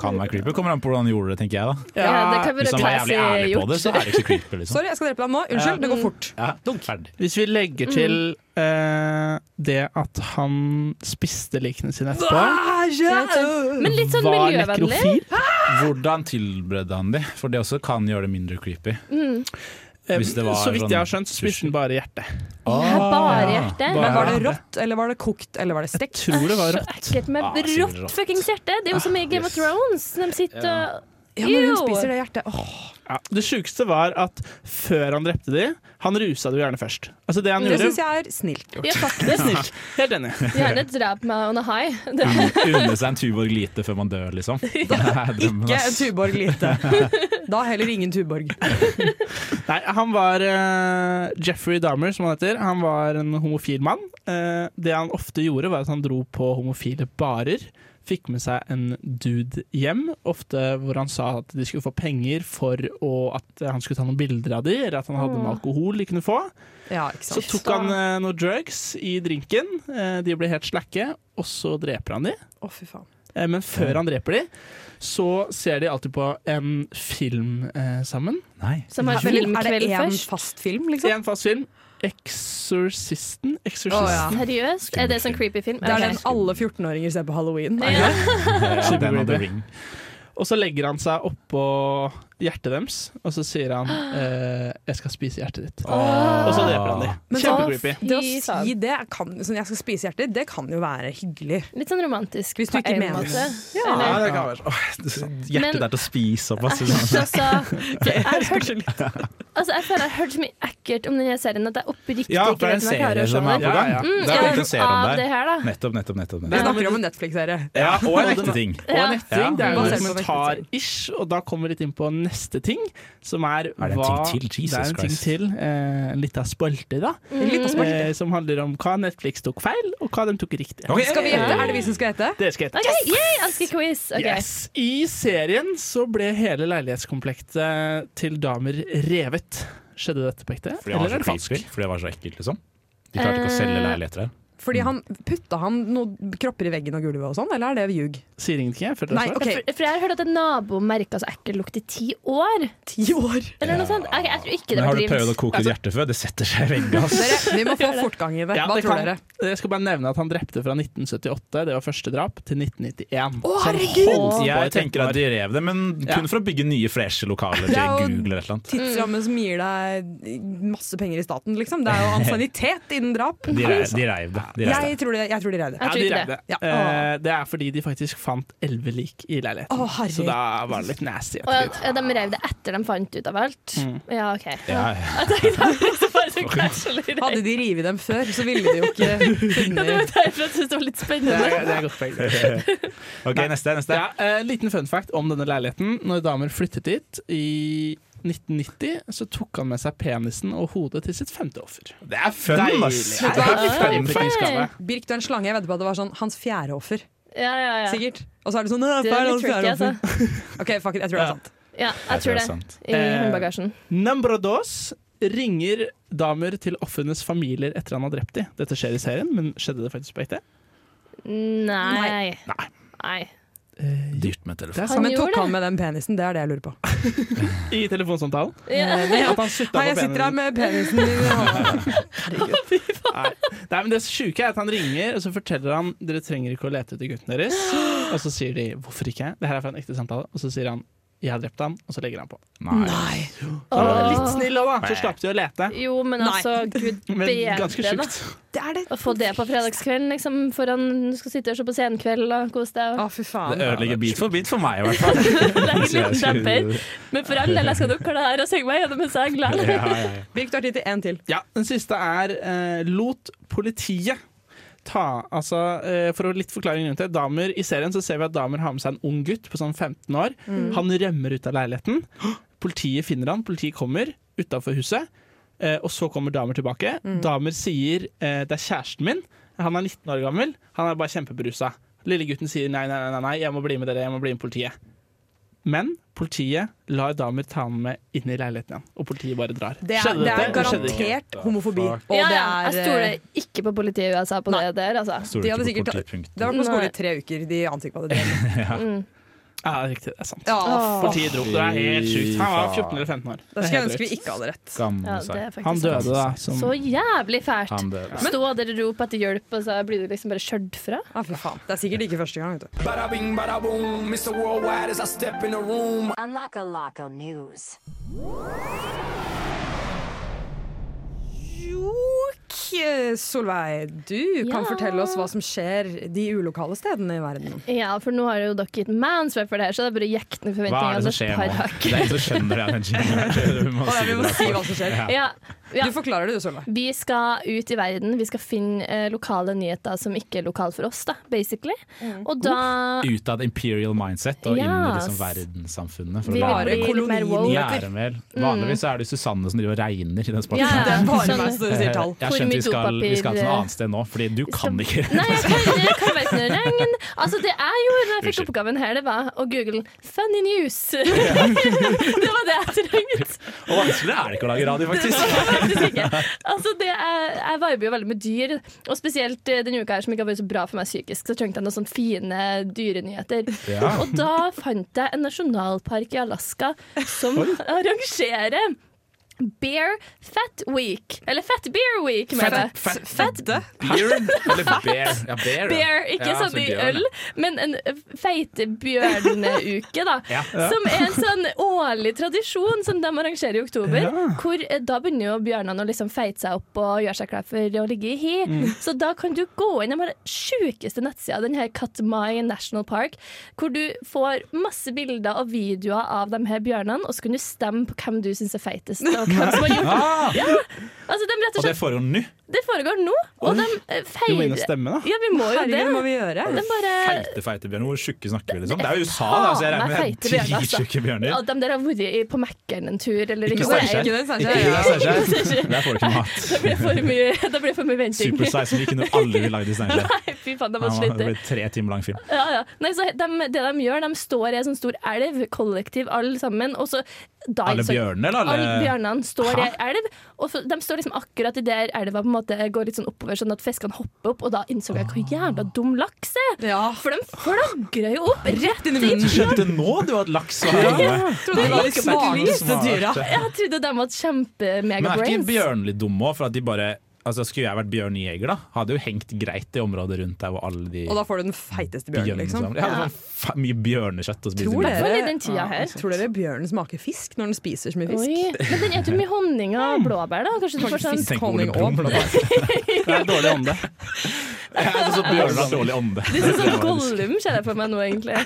Kan være creepy. Kommer an på hvordan du gjorde det, tenker jeg. da Ja, det kan Hvis være han var jævlig classy ærlig på det, gjort. så er det ikke så creepy. liksom Sorry, jeg skal drepe deg nå. Unnskyld, det går fort. ja, Ferdig. Hvis vi legger Mm. til eh, det at han spiste likene sine etterpå, Ah, Men litt sånn var miljøvennlig. nekrofil Hvordan tilberedte han de? For det også kan gjøre det mindre creepy. Eh, Hvis det var Så vidt jeg har sånn skjønt, så spiste han bare hjertet. Ja, Ah, bare hjerte. Bare- Men var det rått, eller var det kokt, eller var det Jeg stekt? tror det var Så rødt. ekkelt med Ah, sikkert rått rått. fuckings hjerte. Det er jo som i Game yes. of Thrones. De sitter og Ja, når hun Ew. spiser det hjertet. Åh. Ja. Det sjukeste var at før han drepte de, han rusa det jo gjerne først. Altså det han Det gjorde syns jeg er snilt. Ja, Det er faktisk. snilt. Helt enig. *laughs* Gjerne drap meg on a high. Det Unne seg en Tuborg lite før man dør, liksom. *laughs* Ikke en Tuborg lite. *laughs* Da heller ingen Tuborg. Nei, han var eh, Jeffrey Dahmer, som han heter. Han var en homofil mann. Eh, det han ofte gjorde, var at han dro på homofile barer. Fikk med seg en dude hjem, ofte hvor han sa at de skulle få penger for å, at han skulle ta noen bilder av de, eller at han hadde med alkohol de kunne få. Ja, ikke Så sant. tok han eh, noen drugs i drinken, eh, de ble helt slakke, og så dreper han de. Å, fy faen. Eh, Men før han dreper de, så ser de alltid på en film eh, sammen. Nei. Som *laughs* har Er det filmkveld én først. fast film, I liksom? en fast film. Exorcisten? Exorcist? Å, ja. Seriøst? Er det sånn creepy film? Det er Ok. den alle 14-åringer ser på halloween. Ja. Eh, den og The Superbaby. Ring. Og så legger han seg oppå hjertet deres, og så sier han eh, 'jeg skal spise hjertet ditt'. Ah. Og så dreper han dem. Men så- Kjempecreepy. Det å Fy faen. si det, kan, sånn, jeg skal spise hjerter, det kan jo være hyggelig. Litt sånn romantisk Hvis du på ikke en mener måte. Ja, Eller- Ah, det kan være. Åh, Men- Hjertet er til å spise opp. *laughs* ass. Æsj, altså. Jeg har hørt, altså, jeg føler jeg har hørt så mye ekkelt om denne serien at jeg oppriktig Ja, ikke for det er en vet om jeg serie klarer å se som er den. på gang. Ja, Mm, ja. Det er ja, kommet en serie om av det der. her, da. Nettopp, nettopp, nettopp. Vi nettopp. snakker om en Netflix-serie. Ja, og en ekte ting. Og Ja. en netting. Det er jo Ja. en dokumentar-ish, og da kommer vi litt inn på neste ting, som er Er det en hva- ting til? Jesus det er en Christ. ting til. Eh, en liten spalte, da. Eh, som handler om hva Netflix tok feil, og hva de tok riktig. Ok. Skal vi gjette? Er det vi som skal gjette? Dere skal gjette. Mm. Ok, Yay, jeg elsker quiz. Ok. Yes. I serien så ble hele leilighetskomplektet til damer revet. Skjedde dette på ekte? Fordi det Mm. var Eller så er det falsk? creepy. Fordi det var så ekkelt, liksom. De klarte ikke å selge leiligheter her. Fordi han Putta han noen kropper i veggen og gulvet og sånn, eller er det ljug? Sier ingenting, jeg. Føler det Nei, er svar. OK. For, for jeg har hørt at en nabo merka så ekkel lukt i ti år. Ti år. Eller noe sånt. Ok, jeg tror ikke det Men var har du prøvd å drimt. koke et hjerte før? Det setter seg i veggen, *laughs* ass. Dere, vi må få fortgang i det. Ja, Hva det tror kan- dere? Jeg skal bare nevne at han drepte fra 1978, det var første drap, til Å, 1991. Så han herregud! holdt på i Jeg 13 tenker år. at de rev det, men Ja. kun for å bygge nye, freshe lokaler til Det er jo- Google eller et eller annet. Tidsramme som gir deg masse penger i staten, liksom. Det er jo ansvarlighet innen drap. De reiv, de reiv det. De reiv det. Jeg tror de, jeg tror de reiv det. Jeg Ja, tror de ikke rev det. Ja. Eh, det er fordi de faktisk fant elleve lik i leiligheten. Å, herregud. så da var det litt nasty. Og etterpå. ja, de rev det etter de fant ut av alt. Ja, OK. Mm. *laughs* Ja, Jeg tenkte det var så casual i Hadde det. de revet dem før, så ville de jo ikke Ja, det funnet var derfor jeg syntes det var litt Det spennende. er, det er godt poeng. *laughs* Ok, neste. neste. Ja, eh, liten fun fact om denne leiligheten. Når damer flyttet dit i 1990, så tok han med seg penisen og hodet til sitt femte offer. Det er fun, ass! Deilig. Det er Ja. fun Fikk en fact. skade. Birk, du er en slange. Jeg vedder på at det var sånn hans fjerde offer. Ja, ja, ja. Sikkert. Og så er det sånn «Nei, Det feil, er hans litt fjerde tricky, altså. offer. OK, fuck it. Jeg tror det er sant. Ja, jeg tror det er det. sant. I Eh, håndbagasjen. Number dos ringer damer til ofrenes familier etter han har drept dem. Dette skjer i serien, men skjedde det faktisk på ekte? Nei. Nei. Nei. Dyrt med telefon. Det er Han sant. Men tok gjorde han med den penisen? Det er det jeg lurer på. Eh, I telefonsamtalen. Ja. *laughs* At han sutta Nei, på jeg sitter her penisen. med penisen din i hånda. *laughs* Nei, men det sjuke er at han ringer, og så forteller han dere trenger ikke å lete etter gutten *gasps* deres. Og så sier de 'hvorfor ikke'? Det her er fra en ekte samtale. Og så sier han 'jeg har drept han', og så legger han på. Nei. Åh, Åh. Litt snill òg, da. Så slapp de å lete. Jo, men Nei. altså, gud Men ganske bedre, da. sjukt. Det er det. Å få det på fredagskvelden, liksom, foran du skal sitte og se på scenekveld og kose deg. Å, og fy faen. Det ødelegger bit for bit for meg, i hvert *laughs* fall. legge en liten Så jeg demper. skulle- Men for all del, jeg skal nok klare det her og synge meg gjennom en sang likevel. Ja, ja, ja. Birk, du har tid til én til. Ja, den siste er eh, lot politiet ta Altså, eh, for å litt forklaring rundt det. Damer I serien så ser vi at damer har med seg en ung gutt på sånn 15 år. Han rømmer ut av leiligheten. Politiet finner han, politiet kommer utafor huset. eh, og så kommer damer tilbake. Damer sier eh, 'det er kjæresten min'. Han er 19 år gammel, han er bare kjempeberusa. Lille gutten sier nei, nei, nei, nei, jeg må bli med dere, jeg må bli med politiet. Men politiet lar damer ta ham med inn i leiligheten igjen, og politiet bare drar. Det er, Skjedde det er dette? Skjedde ikke. garantert homofobi. Og Ja, det ja. er Jeg stoler ikke på politiet i USA på det der, altså. Stoler De hadde ikke på sikkert- politipunkt. Det har vært på skole i Nei. tre uker, de ante ikke hva det drev om. Ja, riktig, det er sant. *laughs* Ja, Åh. faen. Politiet dro. Det er helt sjukt. Han var 14 eller 15 år. Det er Da skulle jeg helt ønske vi drøyt. ikke hadde rett. Ja, Gamle det seg. er Han faktisk døde, da. Som så jævlig fælt. Han døde. Stå der og rop etter hjelp, og så blir du liksom bare skjørt fra. Ja, fy faen. Det er sikkert ikke første gang. vet du. Ok, Solveig, du kan Ja. fortelle oss hva som skjer de ulokale stedene i verden. Ja, for nå har jo dere gitt meg ansvar for det her, så det er bare å jekke ned Hva er det forventningene som et skjer par nå? hakk. Det er ingen som skjønner det. den jinglen. Vi må *laughs* Å, ja, vi må si si det. hva som skjer. Ja, ja. Du forklarer det, du, Solveig. Vi skal ut i verden. Vi skal finne eh, lokale nyheter som ikke er lokale for oss, da, basically. Og da Ut av et imperial mindset og inn i liksom Yes. verdenssamfunnet. For Vi å Bare lage blir litt mer kolonien. woke. gjæremel. Vanligvis så er det Susanne som driver og regner i den spalten. Ja, ja. Mm. Det er bare Sånn- meg som sier tall. eh, Jeg skjønte vi skal, vi skal til et Formidopapir. annet sted nå, fordi du kan ikke Nei, jeg kan, jeg kan verken regn Altså, det jeg gjorde da jeg fikk Unnskyld. oppgaven her, det var å google 'funny news'. *laughs* det var det jeg trengte. Og vanskeligere er det ikke å lage *laughs* radio, Det faktisk. var det faktisk ikke. Altså, det er, jeg viber jo veldig med dyr, og spesielt eh, denne uka her som ikke har vært så bra for meg psykisk, så trengte jeg noen sånne fine dyrenyheter. Og da fant jeg en nasjonalpark i Alaska som arrangerer Bear Fat Week. Eller Fat Bear Week, mener jeg. Fett. Fette. Beer? Eller bear? Ja, bear. ja. Bear, ikke Ja, altså sånn så i bjørn, øl, men en feite bjørneuke, da. Ja. *laughs* Som er en sånn årlig tradisjon som de arrangerer i oktober. Hvor eh, da begynner jo bjørnene å liksom feite seg opp og gjøre seg klar for å ligge i hi. Så da kan du gå inn i den sjukeste nettsida, den her Katmai National Park, hvor du får masse bilder og videoer av de her bjørnene, og så kan du stemme på hvem du syns er feitest. Og hvem som har gjort Ah, Altså, de rett og og det slett, Eh, foregår nå? det foregår nå, og de eh, Du må inn feirer og stemme, da. Ja, vi må jo Herregud, det. det må vi gjøre. De bare Feite, feite bjørner? Hvor tjukke snakker vi? liksom? Det er jo USA, da, så jeg regner med Faen, det er feite bjørner, altså. dritjukke bjørner. Ja, de der har vært i- på Mækkern en tur, eller Ikke Hvor er Steinkjer. Ikke det, Steinkjer, Ikke ja. det, Steinkjer. Der får du ikke mat. *laughs* Det blir for mye, det blir for mye venting. Super Size Week kunne aldri vi lagd i Steinkjer. *laughs* Nei, fy faen, de var Ja, Det slitte. ble tre timer lang film. Ja, ja. Nei, så de, det de gjør, de står i en sånn stor elv, kollektiv, alle sammen, og så da, Alle så- bjørnene, eller alle- Alle bjørnene står i ei elv, og så, de står liksom akkurat i der elva på en måte går litt sånn oppover, sånn at fiskene hopper opp, og da innså jeg hvor jævla dum laks er! Ja. For de flagrer jo opp rett inn i munnen! Du skjønte nå du at laks var her inne? Trodde det var de smarteste dyra. Jeg trodde de var Men er ikke kjempe-megabrains. bjørnene litt dumme òg? Altså, skulle jeg vært bjørnejeger, da, hadde jo hengt greit i området rundt der hvor alle de Og da får du den feiteste bjørnen, bjørnene liksom. sammen Jeg hadde sånn fa- mye bjørnekjøtt å spise. Tror med. dere, Iallfall i den tida her. tror dere bjørnen smaker fisk når den spiser så mye fisk? Oi. Men den spiser mye honning og blåbær, da. Kanskje du får *laughs* sånn Tenk hvor honning det blom, *laughs* og- da. Det er dårlig ånde. Jeg er så bjørnen har dårlig ånde. liksom- Det er sånn Gollum ser jeg for meg nå, egentlig.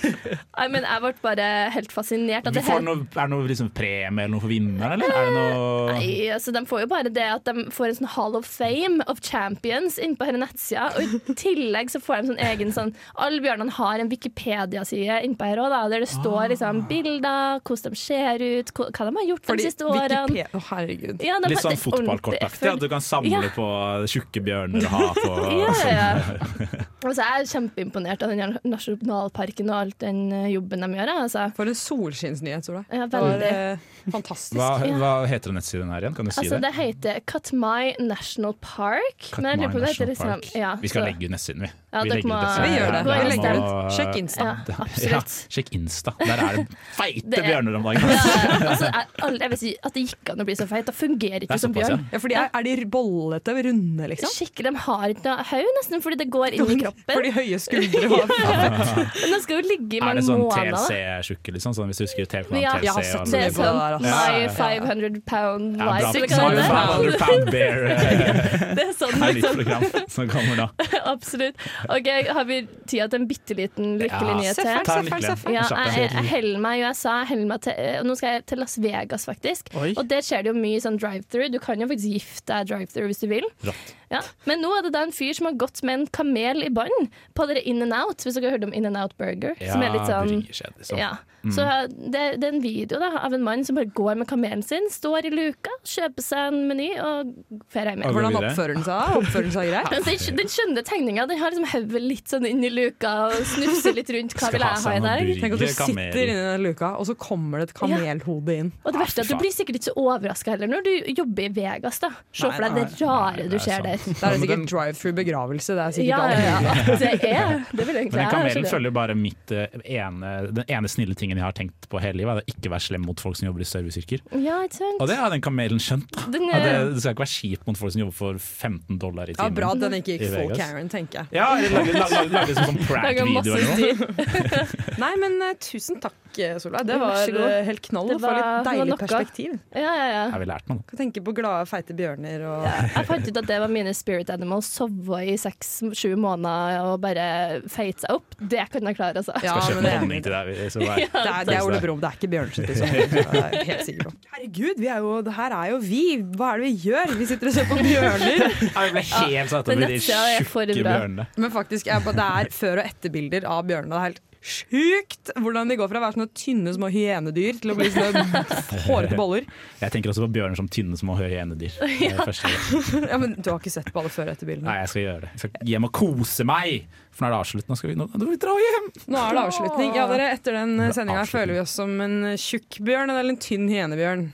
Nei, men jeg ble bare helt fascinert. At Vi det får her, noe, er det noe liksom premie eller noe for vinneren, eller? Er det noe Nei, altså, de får jo bare det at de får en sånn Hall of Fame of Champions inn på denne nettsida. Og i tillegg så får de sånn egen sånn Alle bjørnene har en Wikipedia-side innpå her òg, da. Der det står liksom bilder, hvordan de ser ut, hva hva de har gjort Fordi de siste årene. Wikipedia Å, herregud. Ja, de Litt sånn har- det er ordentlig fotballkortaktig, at du kan samle Ja. på tjukke bjørner og ha på *laughs* Ja, ja, ja. *laughs* Altså, jeg er kjempeimponert av den her nasjonalparken og all den eh, jobben de gjør. jeg, Altså. For en solskinnsnyhet, Sola. Ja, Det var veldig. eh, fantastisk. Hva, hva heter nettsiden her igjen? Kan du si Altså, det? det heter Katmai National Park. Katmai men jeg lurer på om det heter National liksom, ja, Park. Vi skal så- legge ut nettsiden, vi. Ja, dere må- Vi gjør det. Ja, Vi legger legger det ut. Sjekk Insta. Ja, *laughs* Ja, absolutt. sjekk Insta. Der er det feite Det er- bjørner om dagen. Ja, altså, jeg, alle- jeg vil si at det gikk an å bli så feit. Da fungerer Det ikke er som såpass, ja. bjørn. Ja, fordi er, er de bollete runde, liksom? Skikkelig, De har ikke noe haug, nesten, fordi det går inn i For de kroppen. høye skuldre og Men den skal jo ligge i Er mange det sånn måneder. da. TLC-tjukke, liksom? Sånn, hvis du husker TV-kanalen Ja, Jeg har TLC? sett og Det alle mye er på det sånne- der, sånn altså. my 500 pound Ja, bra. life. Six hundred *laughs* Sånn 500 pound bear eh, Det er sånn, er nytt liksom. program som kommer da. Absolutt. Ok, Har vi tid til en bitte liten lykkelig Ja. Selvfølgelig. nyhet til? Ta en lykkelig Ja, en. jeg, Kjapp jeg, en. jeg heller meg i USA. Jeg heller meg til, eh, nå skal jeg til Las Vegas, faktisk. Oi. Og der skjer det jo mye sånn drive-through. Du kan jo faktisk gifte deg drive-through hvis du vil. Rått. Ja. Men nå er det da en fyr som har gått med en kamel i bånd på dere In and Out, hvis dere har hørt om In and Out Burger. *laughs* som er litt sånn bryr seg, liksom. ja. Så eh, det, det er en video da, av en mann som bare går med kamelen sin, står i luka, kjøper seg en meny og drar hjem. Og- Hvordan oppfører den seg? Oppfører den seg greit? Men Den, skj- den skjønne tegninga. Den har liksom hodet litt sånn inn i luka og snufser litt rundt. Hva Skal vil ha jeg seg ha i noen dag? burger, Tenk at du kamel. sitter inni den luka, og så kommer det et kamelhode inn. Og det verste er at fy Du blir sikkert ikke så overraska heller når du jobber i Vegas. da Se for deg det Nei, rare du det er ser der. sant. Da er det sikkert drive-through begravelse. Det er sikkert Ja, alle. ja, ja. Det er det Men vil egentlig den jeg kamelen skjønner. følger bare mitt eh, ene, den ene snille tingen jeg har tenkt på hele livet. Det er å ikke være slem mot folk som jobber i serviceyrker. Ja, ikke sant? Og det har den kamelen skjønt. da. Den, At det, eh, det skal ikke være kjipt mot folk som jobber for 15 dollar i Ja, timen. Bra at den ikke I gikk full Vegas. Karen, tenker jeg. Ja, eller lage, lage, lage, lage sånn *laughs* Lager prank-video masse eller noe. styr. Nei, men eh, tusen takk, eh, Solveig. Det Ja, vær var så god. eh, helt knall. Det Det var var- litt det var deilig noe. perspektiv. Ja, ja, ja. Har vi lært noe? Kan tenke på glade, feite bjørner og Jeg fant ut at det var mine spirit animals. Sove i seks-sju måneder og bare feite seg opp. Det kan jeg klare, *laughs* altså. Ja, Skal kjøpe men det noe er- honning til deg. vi- så *laughs* bare- Det er, det er Ole Brumm, det er ikke Bjørnsen. Liksom. Det er jeg helt sikker på. Herregud, vi er jo, det her er jo vi! Hva er det vi gjør? Vi sitter og ser *laughs* på bjørner. Jeg ble helt satt den over de nettsida er for tjukke bra. bjørnene. Men faktisk, jeg, det er før- og etterbilder av bjørnene. Det er helt sjukt hvordan de går fra å være sånne tynne små hyenedyr til å bli sånne hårete boller. Jeg tenker også på bjørner som tynne små *laughs* hyenedyr. Det er det første jeg- Ja, men Du har ikke sett på alle før- og etterbildene. Nei, jeg skal gjøre det. Jeg skal hjem og kose meg! For nå er det avslutt. Nå skal vi, nå, nå, vi dra hjem! Nå er det avslutning. Ja, dere, Etter den sendinga Avslutning. føler vi oss som en tjukk bjørn eller en tynn hyenebjørn.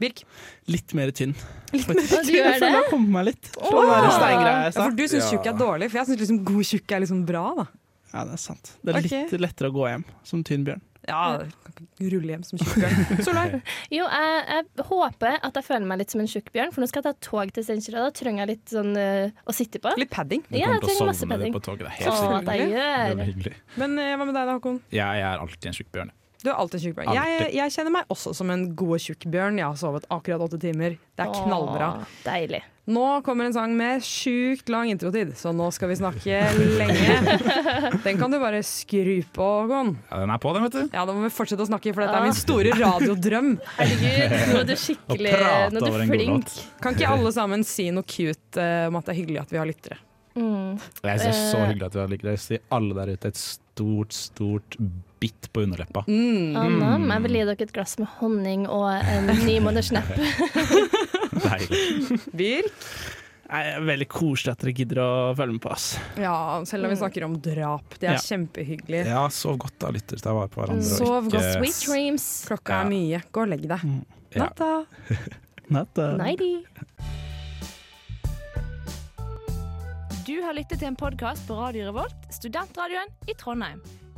Birk? Litt mer tynn. Og du gjør det? Jeg har kommet meg litt fra den der steingreia jeg Ja, sa. for du syns tjukk er dårlig, for jeg syns liksom god tjukk er liksom bra. da Ja, det er sant. Det er litt lettere å gå hjem som tynn bjørn. Ja, kan ikke rulle hjem som tjukkeren. Solveig? Jo, jeg, jeg håper at jeg føler meg litt som en tjukk bjørn, for nå skal jeg ta tog til Steinkjer, og da trenger jeg litt sånn eh, å sitte på. Litt padding. Du Ja, kommer jeg til å trenger masse sovne med det padding. på toget. Det er Å, helt sikkert. at jeg Det gjør. blir hyggelig. Men eh, hva med deg da, Håkon? Jeg er alltid en tjukk bjørn. Du er alltid en tjukk bjørn. Jeg, Alltid. jeg kjenner meg også som en god tjukk bjørn. Jeg har sovet akkurat åtte timer. Det er knallbra. Å, Deilig. Nå kommer en sang med sjukt lang introtid, så nå skal vi snakke lenge. Den kan du bare skru på, Håkon. Ja, den er på, den, vet du. Ja, da må vi fortsette å snakke, for dette er min store radiodrøm. Herregud, nå er du skikkelig prate Nå er over du en god flink. Kan ikke alle sammen si noe cute eh, om at det er hyggelig at vi har lyttere? Mm. Jeg synes det er så Eh. hyggelig at du har likt det. Jeg sier alle der ute et stort, stort bitt på *laughs* underleppa. Mm. Å, nam, Mm. jeg vil gi dere et glass med honning og en ni måneders nepp. *laughs* Deilig. Birk? Nei, det er veldig koselig at dere gidder å følge med på oss. Ja, selv om vi snakker om drap. Det Ja. er kjempehyggelig. Ja, sov godt da, lytter. Ta vare på hverandre. og Sov ikke- godt. Sweet dreams. Klokka Ja. er mye. Gå og legg deg. Ja. Natta. Natta. Nighty. Du har lyttet til en podkast på Radio Revolt, studentradioen i Trondheim.